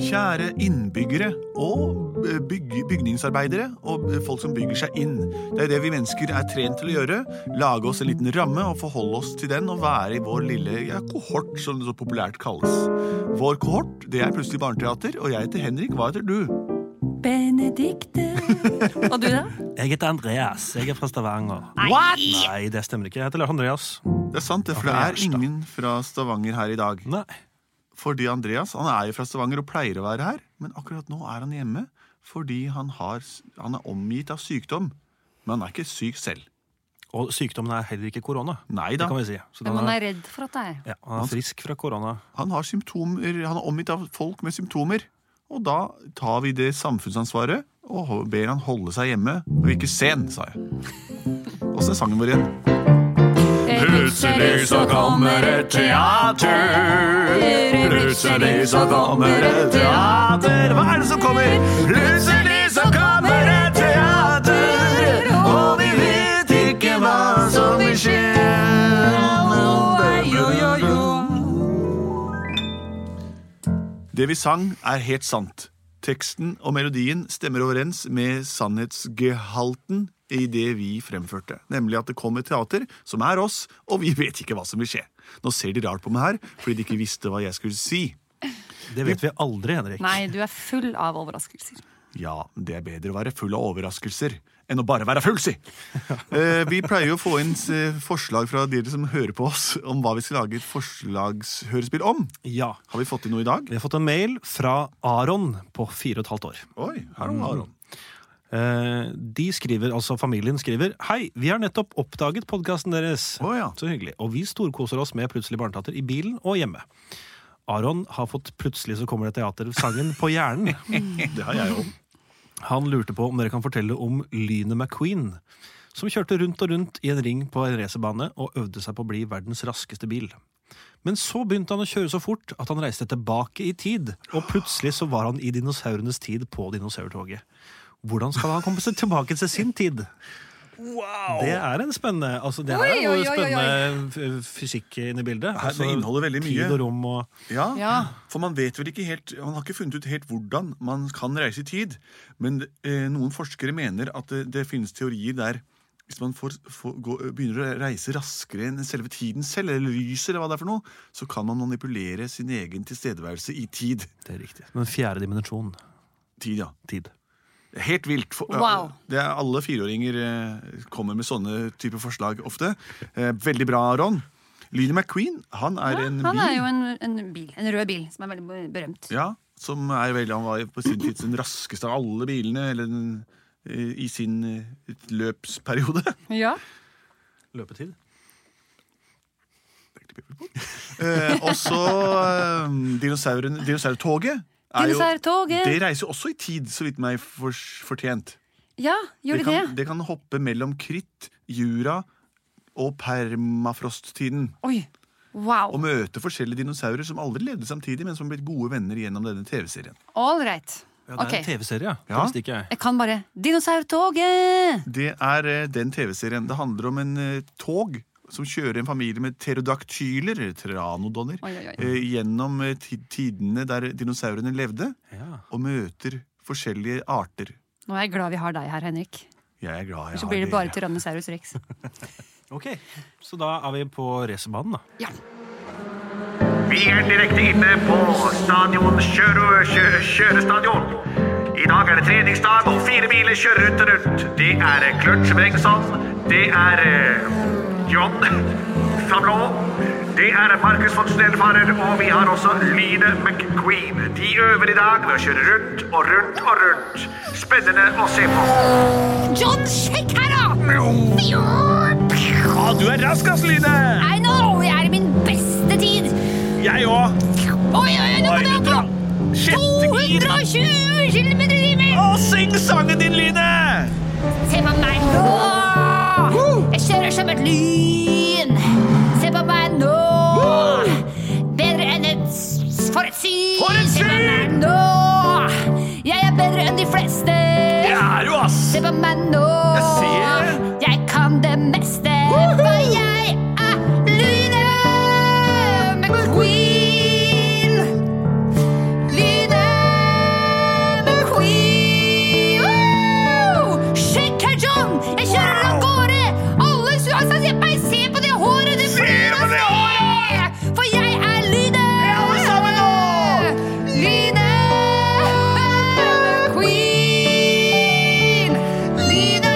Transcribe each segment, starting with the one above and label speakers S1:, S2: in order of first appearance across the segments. S1: Kjære innbyggere og byg bygningsarbeidere og eh, folk som bygger seg inn. Det er jo det vi mennesker er trent til å gjøre. Lage oss en liten ramme og forholde oss til den og være i vår lille ja, kohort, som det så populært kalles. Vår kohort, det er plutselig barneteater, og jeg heter Henrik. Hva heter du?
S2: Benedikte. Og du, da?
S3: Jeg heter Andreas. Jeg er fra Stavanger.
S1: What?!
S3: Nei, det stemmer ikke. Jeg heter Lars Andreas.
S1: Det er sant, det, for det er ingen fra Stavanger her i dag.
S3: Nei.
S1: Fordi Andreas han er jo fra Stavanger og pleier å være her, men akkurat nå er han hjemme fordi han, har, han er omgitt av sykdom. Men han er ikke syk selv.
S3: Og sykdommen er heller ikke korona.
S1: Nei
S3: Det
S1: da.
S3: kan vi si. Så
S2: Men
S3: den
S2: man
S3: er,
S2: er redd for at det er
S3: ja, han er frisk fra korona.
S1: Han har symptomer, han er omgitt av folk med symptomer. Og da tar vi det samfunnsansvaret og ber han holde seg hjemme og ikke se han, sa jeg. Og så er sangen vår igjen.
S2: Plutselig så kommer et teater. Plutselig så kommer et
S1: teater. Hva er det som kommer? Plutselig så kommer et teater. Og vi vet ikke hva som vil skje. Det vi sang, er helt sant. Teksten og melodien stemmer overens med sannhetsgehalten i det vi fremførte. Nemlig at det kom et teater som er oss, og vi vet ikke hva som vil skje. Nå ser de rart på meg her fordi de ikke visste hva jeg skulle si.
S3: Det vet vi aldri, Henrik.
S2: Nei, du er full av overraskelser.
S1: Ja, det er bedre å være full av overraskelser enn å bare være full, si! Eh, vi pleier jo å få inn eh, forslag fra dere som hører på oss, om hva vi skal lage et forslagshørespill om.
S3: Ja.
S1: Har vi fått inn noe i dag?
S3: Vi har fått en mail fra Aron på fire og et halvt år. Mm.
S1: Oi, her er det Aron.
S3: Eh, De skriver, altså Familien skriver Hei, vi har nettopp oppdaget podkasten deres.
S1: Å, ja.
S3: Så hyggelig. Og vi storkoser oss med Plutselig barnetater i bilen og hjemme. Aron har fått Plutselig så kommer det teater-sangen på hjernen.
S1: Det har jeg òg.
S3: Han lurte på om dere kan fortelle om Lynet McQueen, som kjørte rundt og rundt i en ring på en racerbane og øvde seg på å bli verdens raskeste bil. Men så begynte han å kjøre så fort at han reiste tilbake i tid, og plutselig så var han i dinosaurenes tid på dinosaurtoget. Hvordan skal han komme seg tilbake til sin tid? Det er en spennende altså Det her er
S2: Oi,
S3: jo
S2: oi, oi, oi.
S3: spennende eh, f- fysikk inne i bildet. Altså,
S1: Her, det inneholder veldig mye.
S3: Tid og rom og
S1: Ja,
S2: Ja.
S1: For man vet vel ikke helt Man har ikke funnet ut helt hvordan man kan reise i tid. Men eh, noen forskere mener at det, det finnes teorier der hvis man får, får, gå, begynner å reise raskere enn selve tiden selv, eller lyset, eller hva det er for noe, så kan man manipulere sin egen tilstedeværelse i tid.
S3: Det er riktig. Men fjerde dimensjon.
S1: Tid, ja.
S3: Tid.
S1: Helt vilt. For,
S2: Wow.
S1: Det er Alle fireåringer eh, kommer med sånne type forslag ofte. Eh, veldig bra, Ron. Lynet McQueen, han er en
S2: Han
S1: bil.
S2: er jo en, en bil. En rød bil, som er veldig be- berømt.
S1: Ja, som er veldig, Han var jo på sin tid den raskeste av alle bilene eller den, eh, i sin eh, løpsperiode.
S2: Ja.
S3: Løpetid.
S1: Eh, og så eh, dinosauren- dinosaurtoget. er jo-
S2: Dinosaurtoget.
S1: Det reiser jo også i tid, så vidt meg for, fortjent.
S2: Ja, gjør de det?
S1: kan, det kan hoppe mellom kritt, jura og permafrosttiden.
S2: Oi. Wow.
S1: Og møte forskjellige dinosaurer som aldri levde samtidig, men som har blitt gode venner gjennom denne TV-serien.
S2: All right.
S3: Ja, det er
S2: Ok.
S3: en TV-serie.
S1: Ja.
S3: Ja. Det visste ikke jeg.
S2: Jeg kan bare Dinosaurtoget!
S1: Det er eh, den TV-serien. Det handler om en eh, tog som kjører en familie med pterodaktyler, eller pteranodonner,
S2: Oi, oi, oi.
S1: eh, gjennom eh, ti- tidene der dinosaurene levde,
S3: Ja.
S1: og møter forskjellige arter.
S2: Nå er jeg glad vi har deg her, Henrik.
S1: Jeg er glad jeg
S2: Så
S1: har
S2: blir det bare
S1: dere.
S2: Tyrannosaurus rex.
S3: Ok, så da er vi på racerbanen, da.
S2: Ja.
S4: Vi er direkte inne på stadion kjøre, kjøre, kjørestadion. I dag er det treningsdag, og fire biler kjører rundt og rundt. Det er eh, Kløtsj Wengsson, det er eh, John Fablot, det er Markus von Snellfarer, og vi har også Line McQueen. De øver i dag ved å kjøre rundt og rundt og rundt. Spennende å se på.
S2: John, sjekk her, da! Fjo!
S1: Du er raskest, Line!
S2: Nei, nå! Jeg er i min beste tid!
S1: Jeg òg.
S2: Oi, oi, oi, nå må du
S1: vet du
S2: opp!
S1: Sjette gir.
S2: 220 km i timen!
S1: Å, syng sangen din, Line!
S2: Se på meg nå! Jeg kjører som et lyn! Se på meg nå! Bedre enn et s- For et syn!
S1: For et
S2: Se på meg
S1: syn!
S2: nå! Jeg er bedre enn de fleste!
S1: Det er du, ass!
S2: Se på meg nå!
S1: Jeg ser det.
S2: Jeg kan det meste, for jeg er Lyne McQueen. Lyne McQueen. Woo! Sjekk her, John! Jeg kjører av gårde! Alle som har sett meg, se på det håret! Det
S1: Se
S2: blir
S1: på
S2: å
S1: det
S2: se! For jeg er Lyne!
S1: alle sammen nå!
S2: Lyne McQueen! Lyne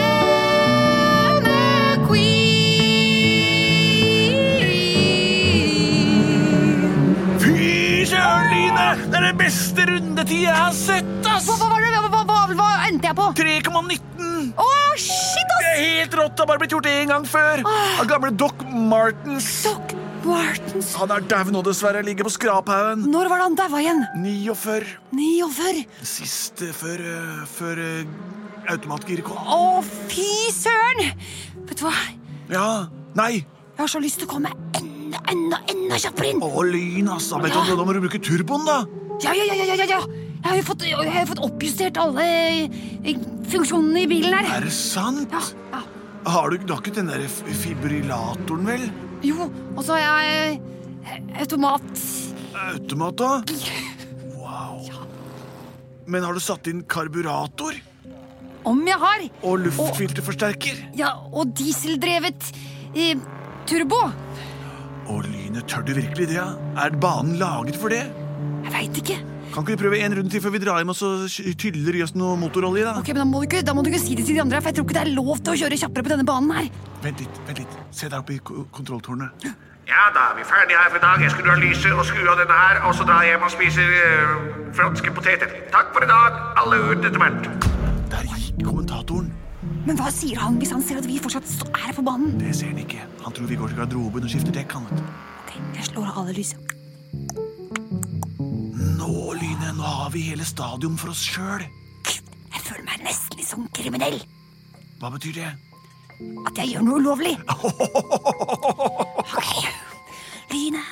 S2: McQueen!
S1: Fy søren, Line! Det er den beste rundetida jeg har sett, ass!
S2: Hva var det? Hva, hva, hva, hva endte jeg på?
S1: 3,19!
S2: Å, shit,
S1: Det
S2: ass!
S1: er helt rått! Det har bare blitt gjort én gang før. Av gamle Doc Martens.
S2: Doc Martens.
S1: Han er dau nå, dessverre. Ligger på skraphaugen.
S2: Når var det han daua igjen?
S1: 49.
S2: 49?
S1: Siste før, eh, før eh, automatgir kom.
S2: Å, fy søren! Vet du hva?
S1: Ja. Nei.
S2: Jeg har så lyst til å komme enda, enda, enda kjappere inn.
S1: Å, lyn, ass. Da vet du at da må du bruke turboen, da.
S2: Ja, ja, ja, ja, ja, ja, ja. Jeg har jo fått, jeg har jo fått oppjustert alle eh, funksjonene i bilen her.
S1: Er det sant?
S2: Ja, ja.
S1: Har du, du har ikke den der f- fibrillatoren, vel?
S2: Jo, og så har jeg eh, automat.
S1: Automat, da? Wow. Men har du satt inn karburator
S2: Om jeg har.
S1: og luftfilterforsterker?
S2: Ja, og dieseldrevet eh, turbo.
S1: Å, lynet, tør du virkelig det? ja? Er banen laget for det?
S2: Jeg veit ikke.
S1: Kan ikke vi prøve en runde til før vi drar hjem og så sky- tyller i oss noe motorolje? da?
S2: Ok, men da må, du ikke, da må du ikke si det til de andre, for jeg tror ikke det er lov til å kjøre kjappere på denne banen her.
S1: Vent litt, vent litt. Se der oppe i ko- kontrolltårnet.
S4: Ja da, vi er ferdige her for i dag. Jeg skrur av lyset og skrur av denne her, og så drar jeg hjem og spiser eh, franske poteter. Takk for i dag, alle ut etter hvert.
S1: Der gikk kommentatoren.
S2: Men hå sier han hvis han ser at vi fortsatt st- er her på banen?
S1: Det ser han ikke. Han tror vi går til garderoben og skifter dekk. han vet du.
S2: Ok, jeg slår av alle lysene.
S1: Nå, Lyne, nå har vi hele stadion for oss sjøl.
S2: Jeg føler meg nesten litt som kriminell.
S1: Hva betyr det?
S2: At jeg gjør noe ulovlig. Ok. Lyne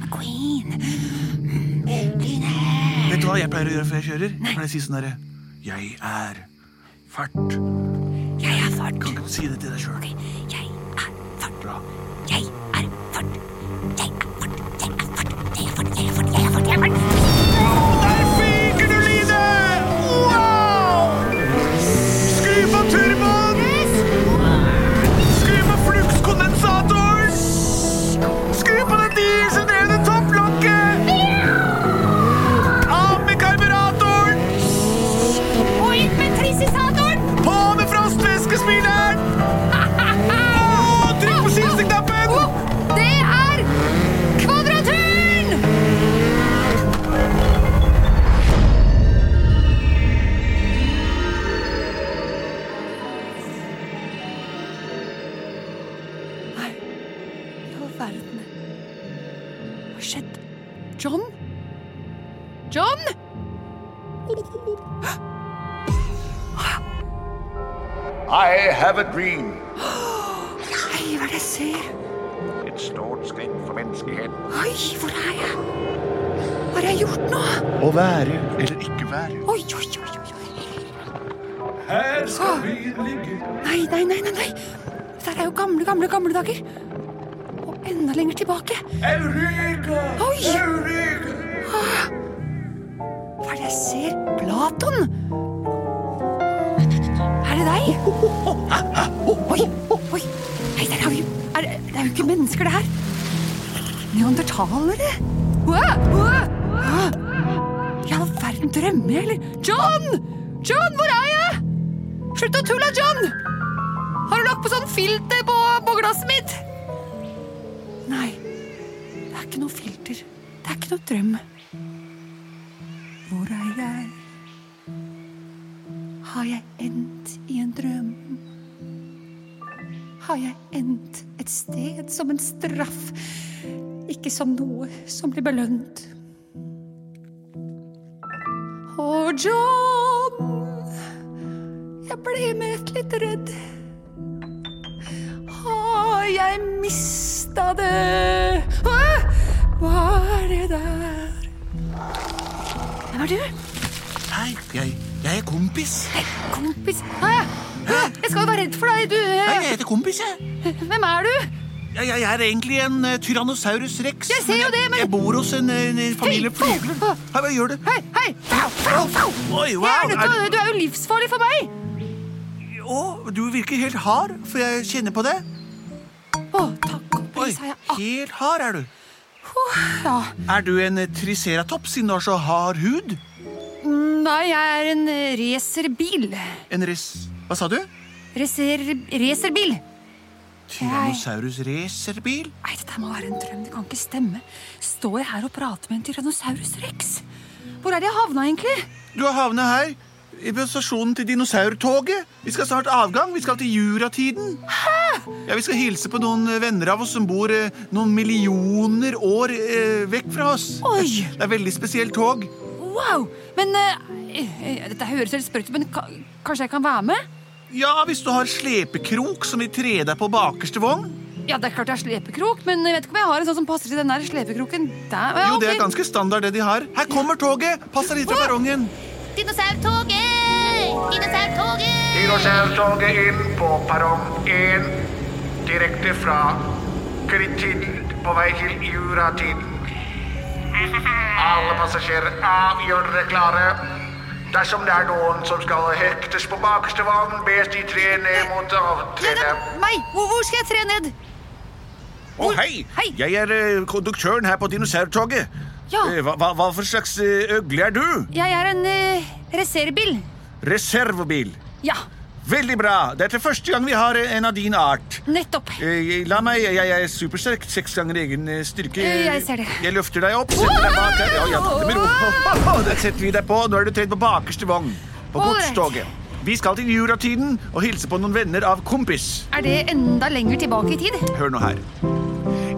S2: McQueen. Lyne
S1: Vet du hva jeg pleier å gjøre før jeg kjører? Jeg pleier å si sånn derre Jeg er fart.
S2: Jeg er fart.
S1: Kan ikke du si det til deg sjøl?
S2: Ok, Jeg er fart.
S1: Bra.
S2: Jeg er fart. Jeg er fart. Jeg er fart. Jeg er fart. Jeg er fart. Jeg er fart. Jeg er fart.
S1: Der fyker du, Line! Wow! Skru på turboen! Skru på flukskondensatoren! Skru på det dieseldrevne topplokket! Av med karburatoren!
S2: Og inn med trissisatoren!
S1: På med frostvæskespilleren! Og Trykk på skifteknappen!
S2: Det er Kvadraturen! Nei, i all verden. Hva har skjedd? John? John?
S4: I have a dream.
S2: Nei, hva er det jeg ser?
S4: Et stort skritt for menneskeheten.
S2: Oi, hvor er jeg? Hva har jeg gjort nå?
S1: Å være eller ikke være.
S2: Oi, oi, oi, oi, oi.
S1: Her skal byen ligge.
S2: Nei, nei, nei, nei, nei. Dette er jo gamle, gamle, gamle dager. Og enda lenger tilbake.
S1: Eureka!
S2: Oi! Ah.
S1: Eureka!
S2: Hva er det jeg ser? Platon? Er det deg? Oi, oi. Nei, det er jo, er, det er jo ikke mennesker, det her. Neandertalere? I all verden drømmer jeg, eller? John! John, hvor er jeg? Slutt å tulle, John! Har du lagt på sånn filter på, på glasset mitt? Nei, det er ikke noe filter. Det er ikke noe drøm. Hvor er jeg? Har jeg endt i en drøm? Har jeg endt et sted som en straff? Ikke som noe som blir belønt. Å, John, jeg ble med et litt redd. Å, jeg mista det. Hva? Hva er det der? Hvem er du?
S1: Hei, jeg, jeg er kompis.
S2: Kompis? Hæ? Hæ? Jeg skal jo være redd for deg, du.
S1: Hei, jeg heter Kompis, jeg.
S2: Hvem er du?
S1: Jeg, jeg er egentlig en eh, Tyrannosaurus rex.
S2: Jeg ser jo det, men-
S1: Jeg bor hos en, eh, en familie
S2: Fy, au,
S1: flygler.
S2: au.
S1: Hei, hva gjør du?
S2: Hei, hei! Au, au, au!
S1: Oi, wow.
S2: Jeg
S1: er
S2: er nødt til å Du er jo livsfarlig for meg.
S1: du- Å, du virker helt hard, for jeg kjenner på det.
S2: Å, takk,
S1: Oi,
S2: kompis. Har jeg akkurat
S1: helt hard er du.
S2: ja.
S1: Er du en eh, triceratops siden du har så hard hud?
S2: Nei, jeg er en eh, racerbil.
S1: En res... Hva sa du?
S2: Racer... Racerbil.
S1: Tyrannosaurus racerbil?
S2: Nei, dette må være en drøm. Det kan ikke stemme. Står jeg her og prater med en tyrannosaurus rex? Hvor er det jeg havna, egentlig?
S1: Du har havnet her. I på stasjonen til dinosaurtoget. Vi skal snart avgang. Vi skal til juratiden. Ja, Vi skal hilse på noen eh, venner av oss som bor eh, noen millioner år eh, vekk fra oss.
S2: Oi!
S1: Det er veldig spesielt tog.
S2: Wow! Men eh, eh, Dette høres helt sprøtt ut, men ka kanskje jeg kan være med?
S1: Ja, hvis du har slepekrok som vil tre deg på bakerste vogn.
S2: Ja, det er klart jeg har slepekrok, men jeg vet ikke om jeg har en sånn som passer til den der slepekroken der. Ja,
S1: Jo, det
S2: ok.
S1: er ganske standard, det de har. Her kommer toget! Pass deg litt fra perrongen.
S5: Dinosaurtoget! Dinosaurtoget!
S4: Dinosaurtoget inn på perrong 1, direkte fra krittiden på vei til juratiden. Alle passasjerer av, gjør dere klare. Dersom det er noen som skal hektes på bakerste vogn, bes de tre ned mot
S2: Leder,
S4: avtrene.
S2: meg! Hvor, hvor skal jeg tre ned?
S1: Å, hei!
S2: Hei.
S1: Jeg er eh, konduktøren her på dinosaurtoget.
S2: Ja.
S1: Eh, Hva, hva, hva for slags eh, øgle er du?
S2: Jeg er en uh, reservebil.
S1: Reservebil.
S2: Ja,
S1: Veldig bra. Dette er første gang vi har eh, en av din art.
S2: nettopp.
S1: Eh, La meg, jeg, jeg er supersterk. Seks ganger egen eh, styrke.
S2: Eh, jeg ser det.
S1: Jeg løfter deg opp, setter deg bak her. Ja, ja, ta det med ro. Der setter vi deg på. Nå er du tredd på bakerste vogn. På
S2: Ålreit.
S1: godstoget. Vi skal til juratiden og hilse på noen venner av kompis.
S2: Er det enda lenger tilbake i tid?
S1: Hør nå her.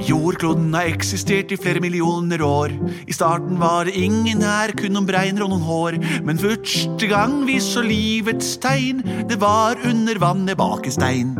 S1: Jordkloden har eksistert i flere millioner år. I starten var det ingen her, kun noen bregner og noen hår. Men første gang vi så livets tegn, det var under vannet bak en stein.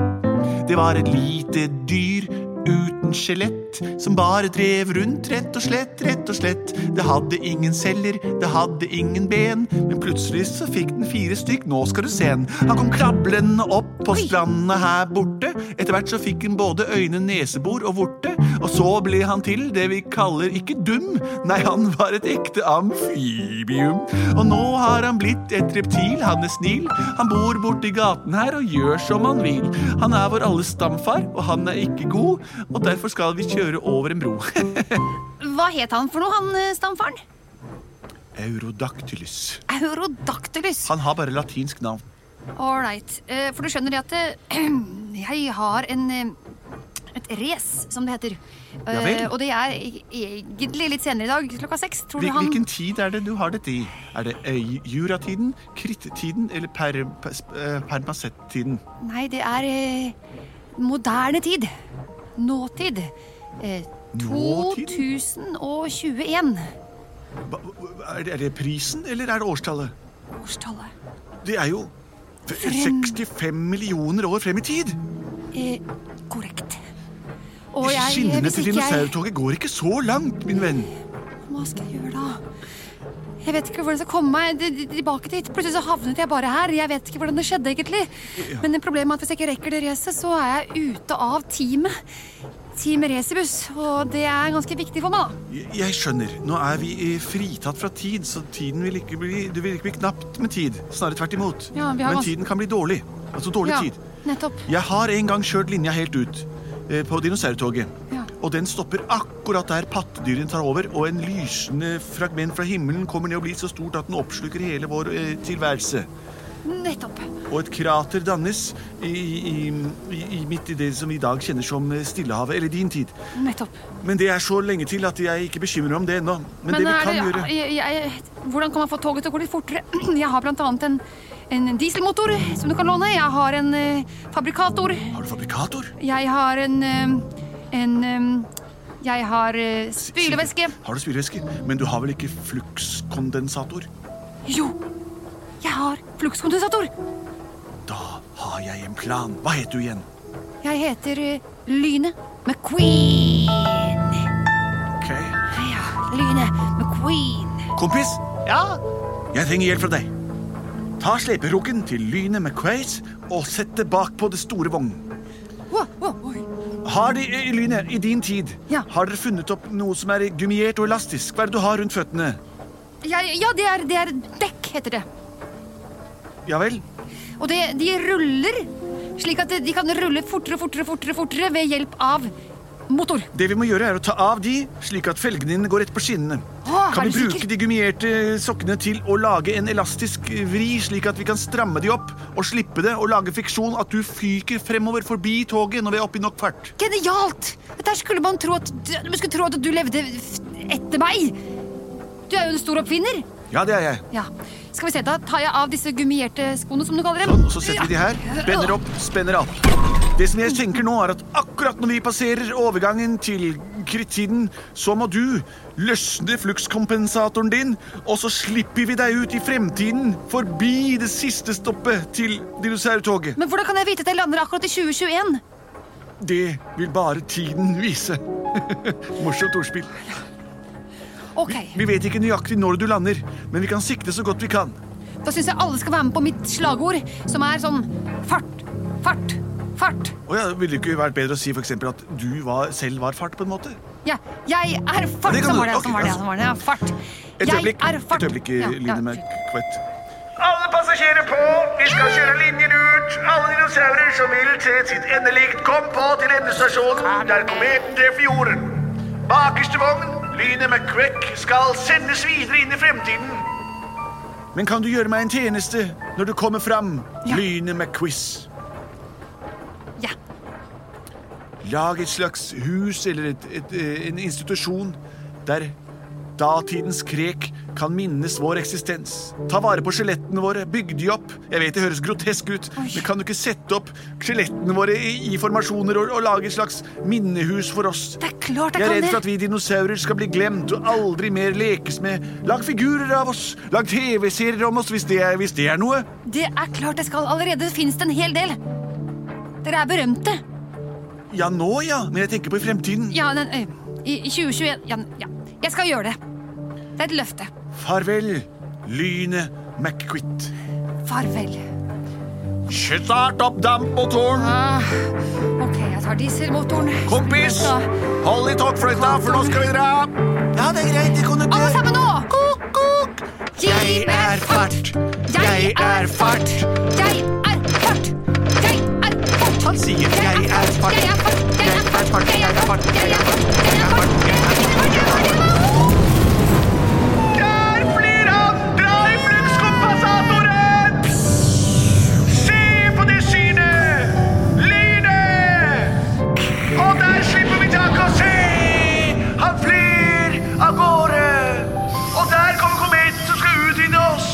S1: Det var et lite dyr uten skjelett som bare drev rundt, rett og slett, rett og slett. Det hadde ingen celler, det hadde ingen ben, men plutselig så fikk den fire stykk, nå skal du se den. Han kom krablende opp på stranda her borte. Etter hvert så fikk han både øyne, nesebor og vorte, og så ble han til det vi kaller ikke dum, nei, han var et ekte amfibium. Og nå har han blitt et reptil, han er snill. Han bor borti gaten her og gjør som han vil. Han er vår alles stamfar, og han er ikke god, og derfor skal vi kjøre over en bro.
S2: Hva het han for noe, han eh, stamfaren?
S1: Eurodactylus.
S2: Eurodactylus.
S1: Han har bare latinsk navn.
S2: Ålreit. Eh, For du skjønner det at eh, jeg har en eh, et race, som det heter.
S1: Ja
S2: Eh,
S1: vel.
S2: Og det er e- egentlig litt senere i dag, klokka seks. Tror du
S1: Hvil-
S2: han
S1: Hvilken tid er det du har dette i? Er det eh, juratiden, krittiden eller per, per, eh, permasettiden?
S2: Nei, det er eh, moderne tid. Nåtid. Eh,
S1: Nåtid?
S2: 2021.
S1: Hva- Er det, er det prisen, eller er det årstallet?
S2: Årstallet.
S1: Det er jo f- 65 millioner år frem i tid!
S2: Eh, korrekt. Og
S1: Disse
S2: jeg, eh,
S1: Skinnene
S2: hvis
S1: til
S2: ikke jeg
S1: dinosaurtoget går ikke så langt, min venn.
S2: Hva skal jeg gjøre da? Jeg vet ikke hvordan jeg skal komme meg d- d- tilbake dit. Plutselig så havnet jeg bare her. Jeg vet ikke hvordan det skjedde, egentlig. Men det problemet er at hvis jeg ikke rekker det racet, så er jeg ute av teamet. Team Racerbus. Og det er ganske viktig for meg, da.
S1: Jeg- Jeg skjønner. Nå er vi eh, fritatt fra tid, så tiden vil ikke bli, det vil ikke bli knapt med tid. Snarere tvert imot.
S2: Ja, vi har
S1: Men
S2: vans-
S1: tiden kan bli dårlig. Altså dårlig tid.
S2: nettopp.
S1: Jeg har en gang kjørt linja helt ut eh, på dinosaurtoget.
S2: Ja.
S1: og den stopper akkurat der pattedyrene tar over, og en lysende fragment fra himmelen kommer ned og blir så stort at den oppsluker hele vår eh, tilværelse.
S2: Nettopp.
S1: Og et krater dannes i, i, i, i midt i det som vi i dag kjenner som eh, Stillehavet, eller din tid.
S2: Nettopp.
S1: Men det er så lenge til at jeg ikke bekymrer meg om det ennå. Men, det vi
S2: er
S1: kan gjøre
S2: jeg, jeg, Hvordan kan man få toget til å gå litt fortere? Jeg har blant annet en, en dieselmotor som du kan låne. Jeg har en eh, fabrikator.
S1: Har du fabrikator?
S2: Jeg har en eh, En eh, Jeg har eh, spylevæske.
S1: Har du spylevæske? Men du har vel ikke flukskondensator?
S2: Jo, jeg har flukskondensator.
S1: Da har jeg en plan. Hva heter du igjen?
S2: Jeg heter eh, Lyne McQueen.
S1: Ok.
S2: Ja, Lyne McQueen.
S1: Kompis? Ja? Jeg trenger hjelp fra deg. Ta sleperoken til Lynet McQuaid og sett det bak på det store vogn.
S2: Wow, wow, oi.
S1: Har de, eh, Lynet, i din tid,
S2: Ja.
S1: har dere funnet opp noe som er gummiert og elastisk? Hva er det du har rundt føttene?
S2: Jeg, ja, det er, det er dekk, heter det.
S1: Ja vel?
S2: Og det, de ruller, slik at de kan rulle fortere, fortere, fortere, fortere ved hjelp av motor.
S1: Det vi må gjøre, er å ta av de, slik at felgene dine går rett på skinnene.
S2: Å,
S1: kan
S2: er
S1: vi
S2: du
S1: bruke
S2: sikker?
S1: de gummierte sokkene til å lage en elastisk vri, slik at vi kan stramme de opp og slippe det og lage friksjon at du fyker fremover forbi toget når vi er oppe i nok fart?
S2: Genialt! Dette her skulle man tro at, man skulle tro at du levde f- etter meg. Du er jo en stor oppfinner.
S1: Ja, det er jeg.
S2: Ja. Skal vi se, da tar jeg av disse gummierte skoene, som du kaller dem.
S1: Sånn, og så setter vi de her. Spenner opp, spenner av. Det som jeg tenker nå er at akkurat når vi passerer overgangen til krittiden, så må du løsne flukskompensatoren din, og så slipper vi deg ut i fremtiden forbi det siste stoppet til dinosaurtoget.
S2: Men hvordan kan jeg vite at jeg lander akkurat i 2021?
S1: Det vil bare tiden vise. Morsomt ordspill.
S2: Ok,
S1: Vi vet ikke nøyaktig når du lander, men vi kan sikte så godt vi kan.
S2: da syns jeg alle skal være med på mitt slagord, som er sånn fart, fart, fart.
S1: Og ja, Ville det ikke vært bedre å si for eksempel at du var, selv var fart? på en måte?
S2: Ja, jeg er fart,
S1: Det kan
S2: som
S1: du-
S2: var det,
S1: ok,
S2: som var det,
S1: altså.
S2: som var det. Ja, fart.
S1: Et
S2: jeg
S1: øyeblikk,
S2: er fart.
S1: et øyeblikk eh,
S2: Ja, ja.
S1: Line McQuett.
S4: Alle passasjerer på! Vi skal kjøre linjen ut! Alle dinosaurer som vil se sitt endelikt, kom på til endestasjonen der kometen treffer jorden. Bakerste vogn, lynet McCrack, skal sendes videre inn i fremtiden.
S1: Men kan du gjøre meg en tjeneste når du kommer fram,
S2: Ja.
S1: Lyne McQuiz?
S2: Ja.
S1: Lag et slags hus eller et, et, eh, en institusjon der datidens krek kan minnes vår eksistens. Ta vare på skjelettene våre, bygg de opp. Jeg vet det høres grotesk ut, men kan du ikke sette opp skjelettene våre i, i formasjoner og, og lage et slags minnehus for oss?
S2: Det er klart jeg,
S1: Jeg er redd
S2: kan
S1: for
S2: det.
S1: at vi dinosaurer skal bli glemt og aldri mer lekes med. Lag figurer av oss, lag TV-serier om oss hvis det er, hvis det er noe.
S2: Det er klart jeg skal. Allerede finnes det en hel del. Dere er berømte.
S1: Ja, nå ja, men jeg tenker på i fremtiden.
S2: Ja, den, øy, i, i 2021. Ja, ja, jeg skal gjøre det. Det er et løfte.
S1: Farvel, lynet McQuitt.
S2: Farvel.
S1: Start opp dampmotoren,
S2: Ah, ok, jeg tar dieselmotoren.
S1: kompis!
S2: Ja.
S1: Hold i togfløyta, for nå skal vi dra! Ja, det er greit, det kan du
S2: Alle sammen nå! Kok, kok!
S1: Jeg er fart. Jeg er fart.
S2: Jeg er fart. Jeg er fart.
S1: Han sier, «Jeg er fart.
S2: Jeg er fart. Jeg er fart. Jeg er fart. Jeg er fart. Jeg er fart. Jeg er fart. Jeg er fart. Jeg er fart.
S4: Der flyr han! Dra i flukskompensatoren! Se på det synet! Lynet! Og der slipper vi taket og se! Han flyr av gårde! Og der kommer kometen som skal utvinne oss!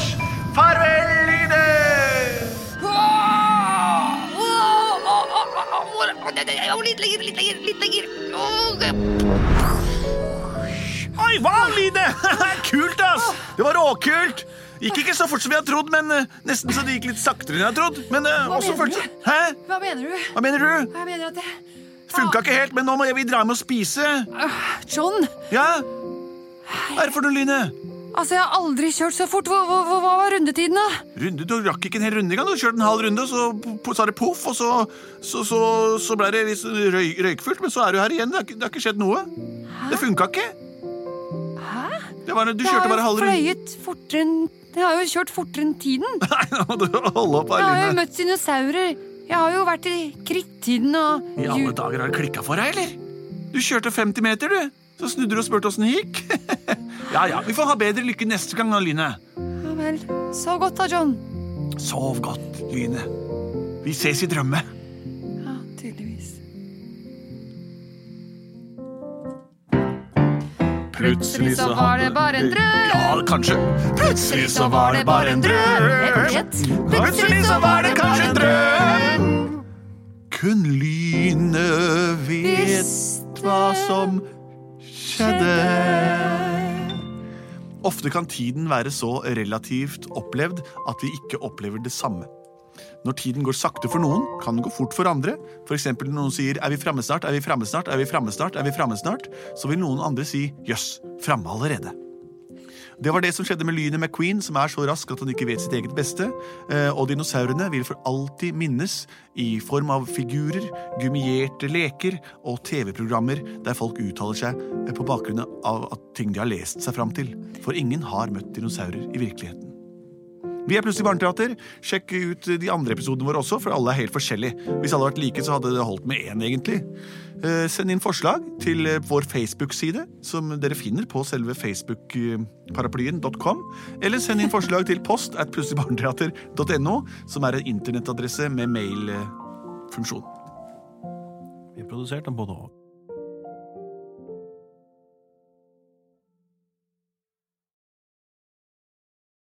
S4: Farvel, lynet!
S5: Åh, åh, åh, åh, åh, hvor- åh, det- det- åh, Litt lenger, litt lenger, litt lenger. Åh, det-
S1: Oi, hva, Line? Kult, ass! Det var råkult! Gikk ikke så fort som jeg hadde trodd, men eh, nesten så det gikk litt saktere enn jeg hadde trodd. Men eh,
S2: Hva
S1: også
S2: mener
S1: føltes...
S2: du?
S1: Hæ?
S2: Hva mener du?
S1: Hva mener du?
S2: Jeg mener at det...
S1: Funka ikke helt, men nå må jeg vi dra med og spise.
S2: John,
S1: Ja? Hva er det for noe, Line?
S2: altså jeg har aldri kjørt så fort. Hva, hva, hva- hva var rundetiden da?
S1: Runde, Du rakk ikke en hel runde engang. Du kjørte en halv runde, og så p- sa det poff, og så, så, så, så ble det litt sånn røy, røykfullt. Men så er du her igjen. Det har, ikke- det har ikke skjedd noe. Det funka ikke.
S2: Hæ?
S1: Det var, du
S2: Jeg
S1: kjørte
S2: har jo
S1: bare halv runde.
S2: fløyet fortere enn... Jeg har jo kjørt fortere enn tiden.
S1: Nei, nå må du holde opp,
S2: Jeg har jo
S1: Line.
S2: møtt dinosaurer. Jeg har jo vært i krittiden og...
S1: I alle dager har det klikka for deg, eller?
S6: Du kjørte 50 meter, du. Så snudde du og spurte åssen det gikk. ja, ja, Vi får ha bedre lykke neste gang, da, Line.
S2: Ja vel. Så godt da, John.
S6: Sov godt, Line. Vi ses i drømme.
S2: Ja, tydeligvis.
S7: Plutselig
S2: Så var det bare en drøm.
S6: Ja, kanskje.
S7: Plutselig så var det bare en drøm.
S6: Plutselig så var det kanskje en drøm. Kun Line visst hva som skjedde.
S1: Ofte kan tiden være så relativt opplevd at vi ikke opplever det samme. Når tiden går sakte for noen, kan den gå fort for andre. For eksempel når noen sier 'er vi framme snart', 'er vi framme snart', 'er vi framme snart', er vi framme snart, så vil noen andre si 'jøss, framme allerede'. Det var det som skjedde med lynet McQueen, som er så rask at han ikke vet sitt eget beste. Eh, Og dinosaurene vil for alltid minnes i form av figurer, gummierte leker og TV-programmer der folk uttaler seg eh, på bakgrunn av at ting de har lest seg fram til. For ingen har møtt dinosaurer i virkeligheten. Vi er Plutselig barneteater. Sjekk ut de andre episodene våre også, for alle er helt forskjellige. Hvis alle hadde vært like, så hadde det holdt med én, egentlig. Eh, Send inn forslag til eh, vår Facebook-side, som dere finner på selve facebookparaplyen.com. Eller send inn forslag til post at plutseligbarneteater.no, som er en eh, internettadresse med mailfunksjon.
S3: Vi er produsert av både og.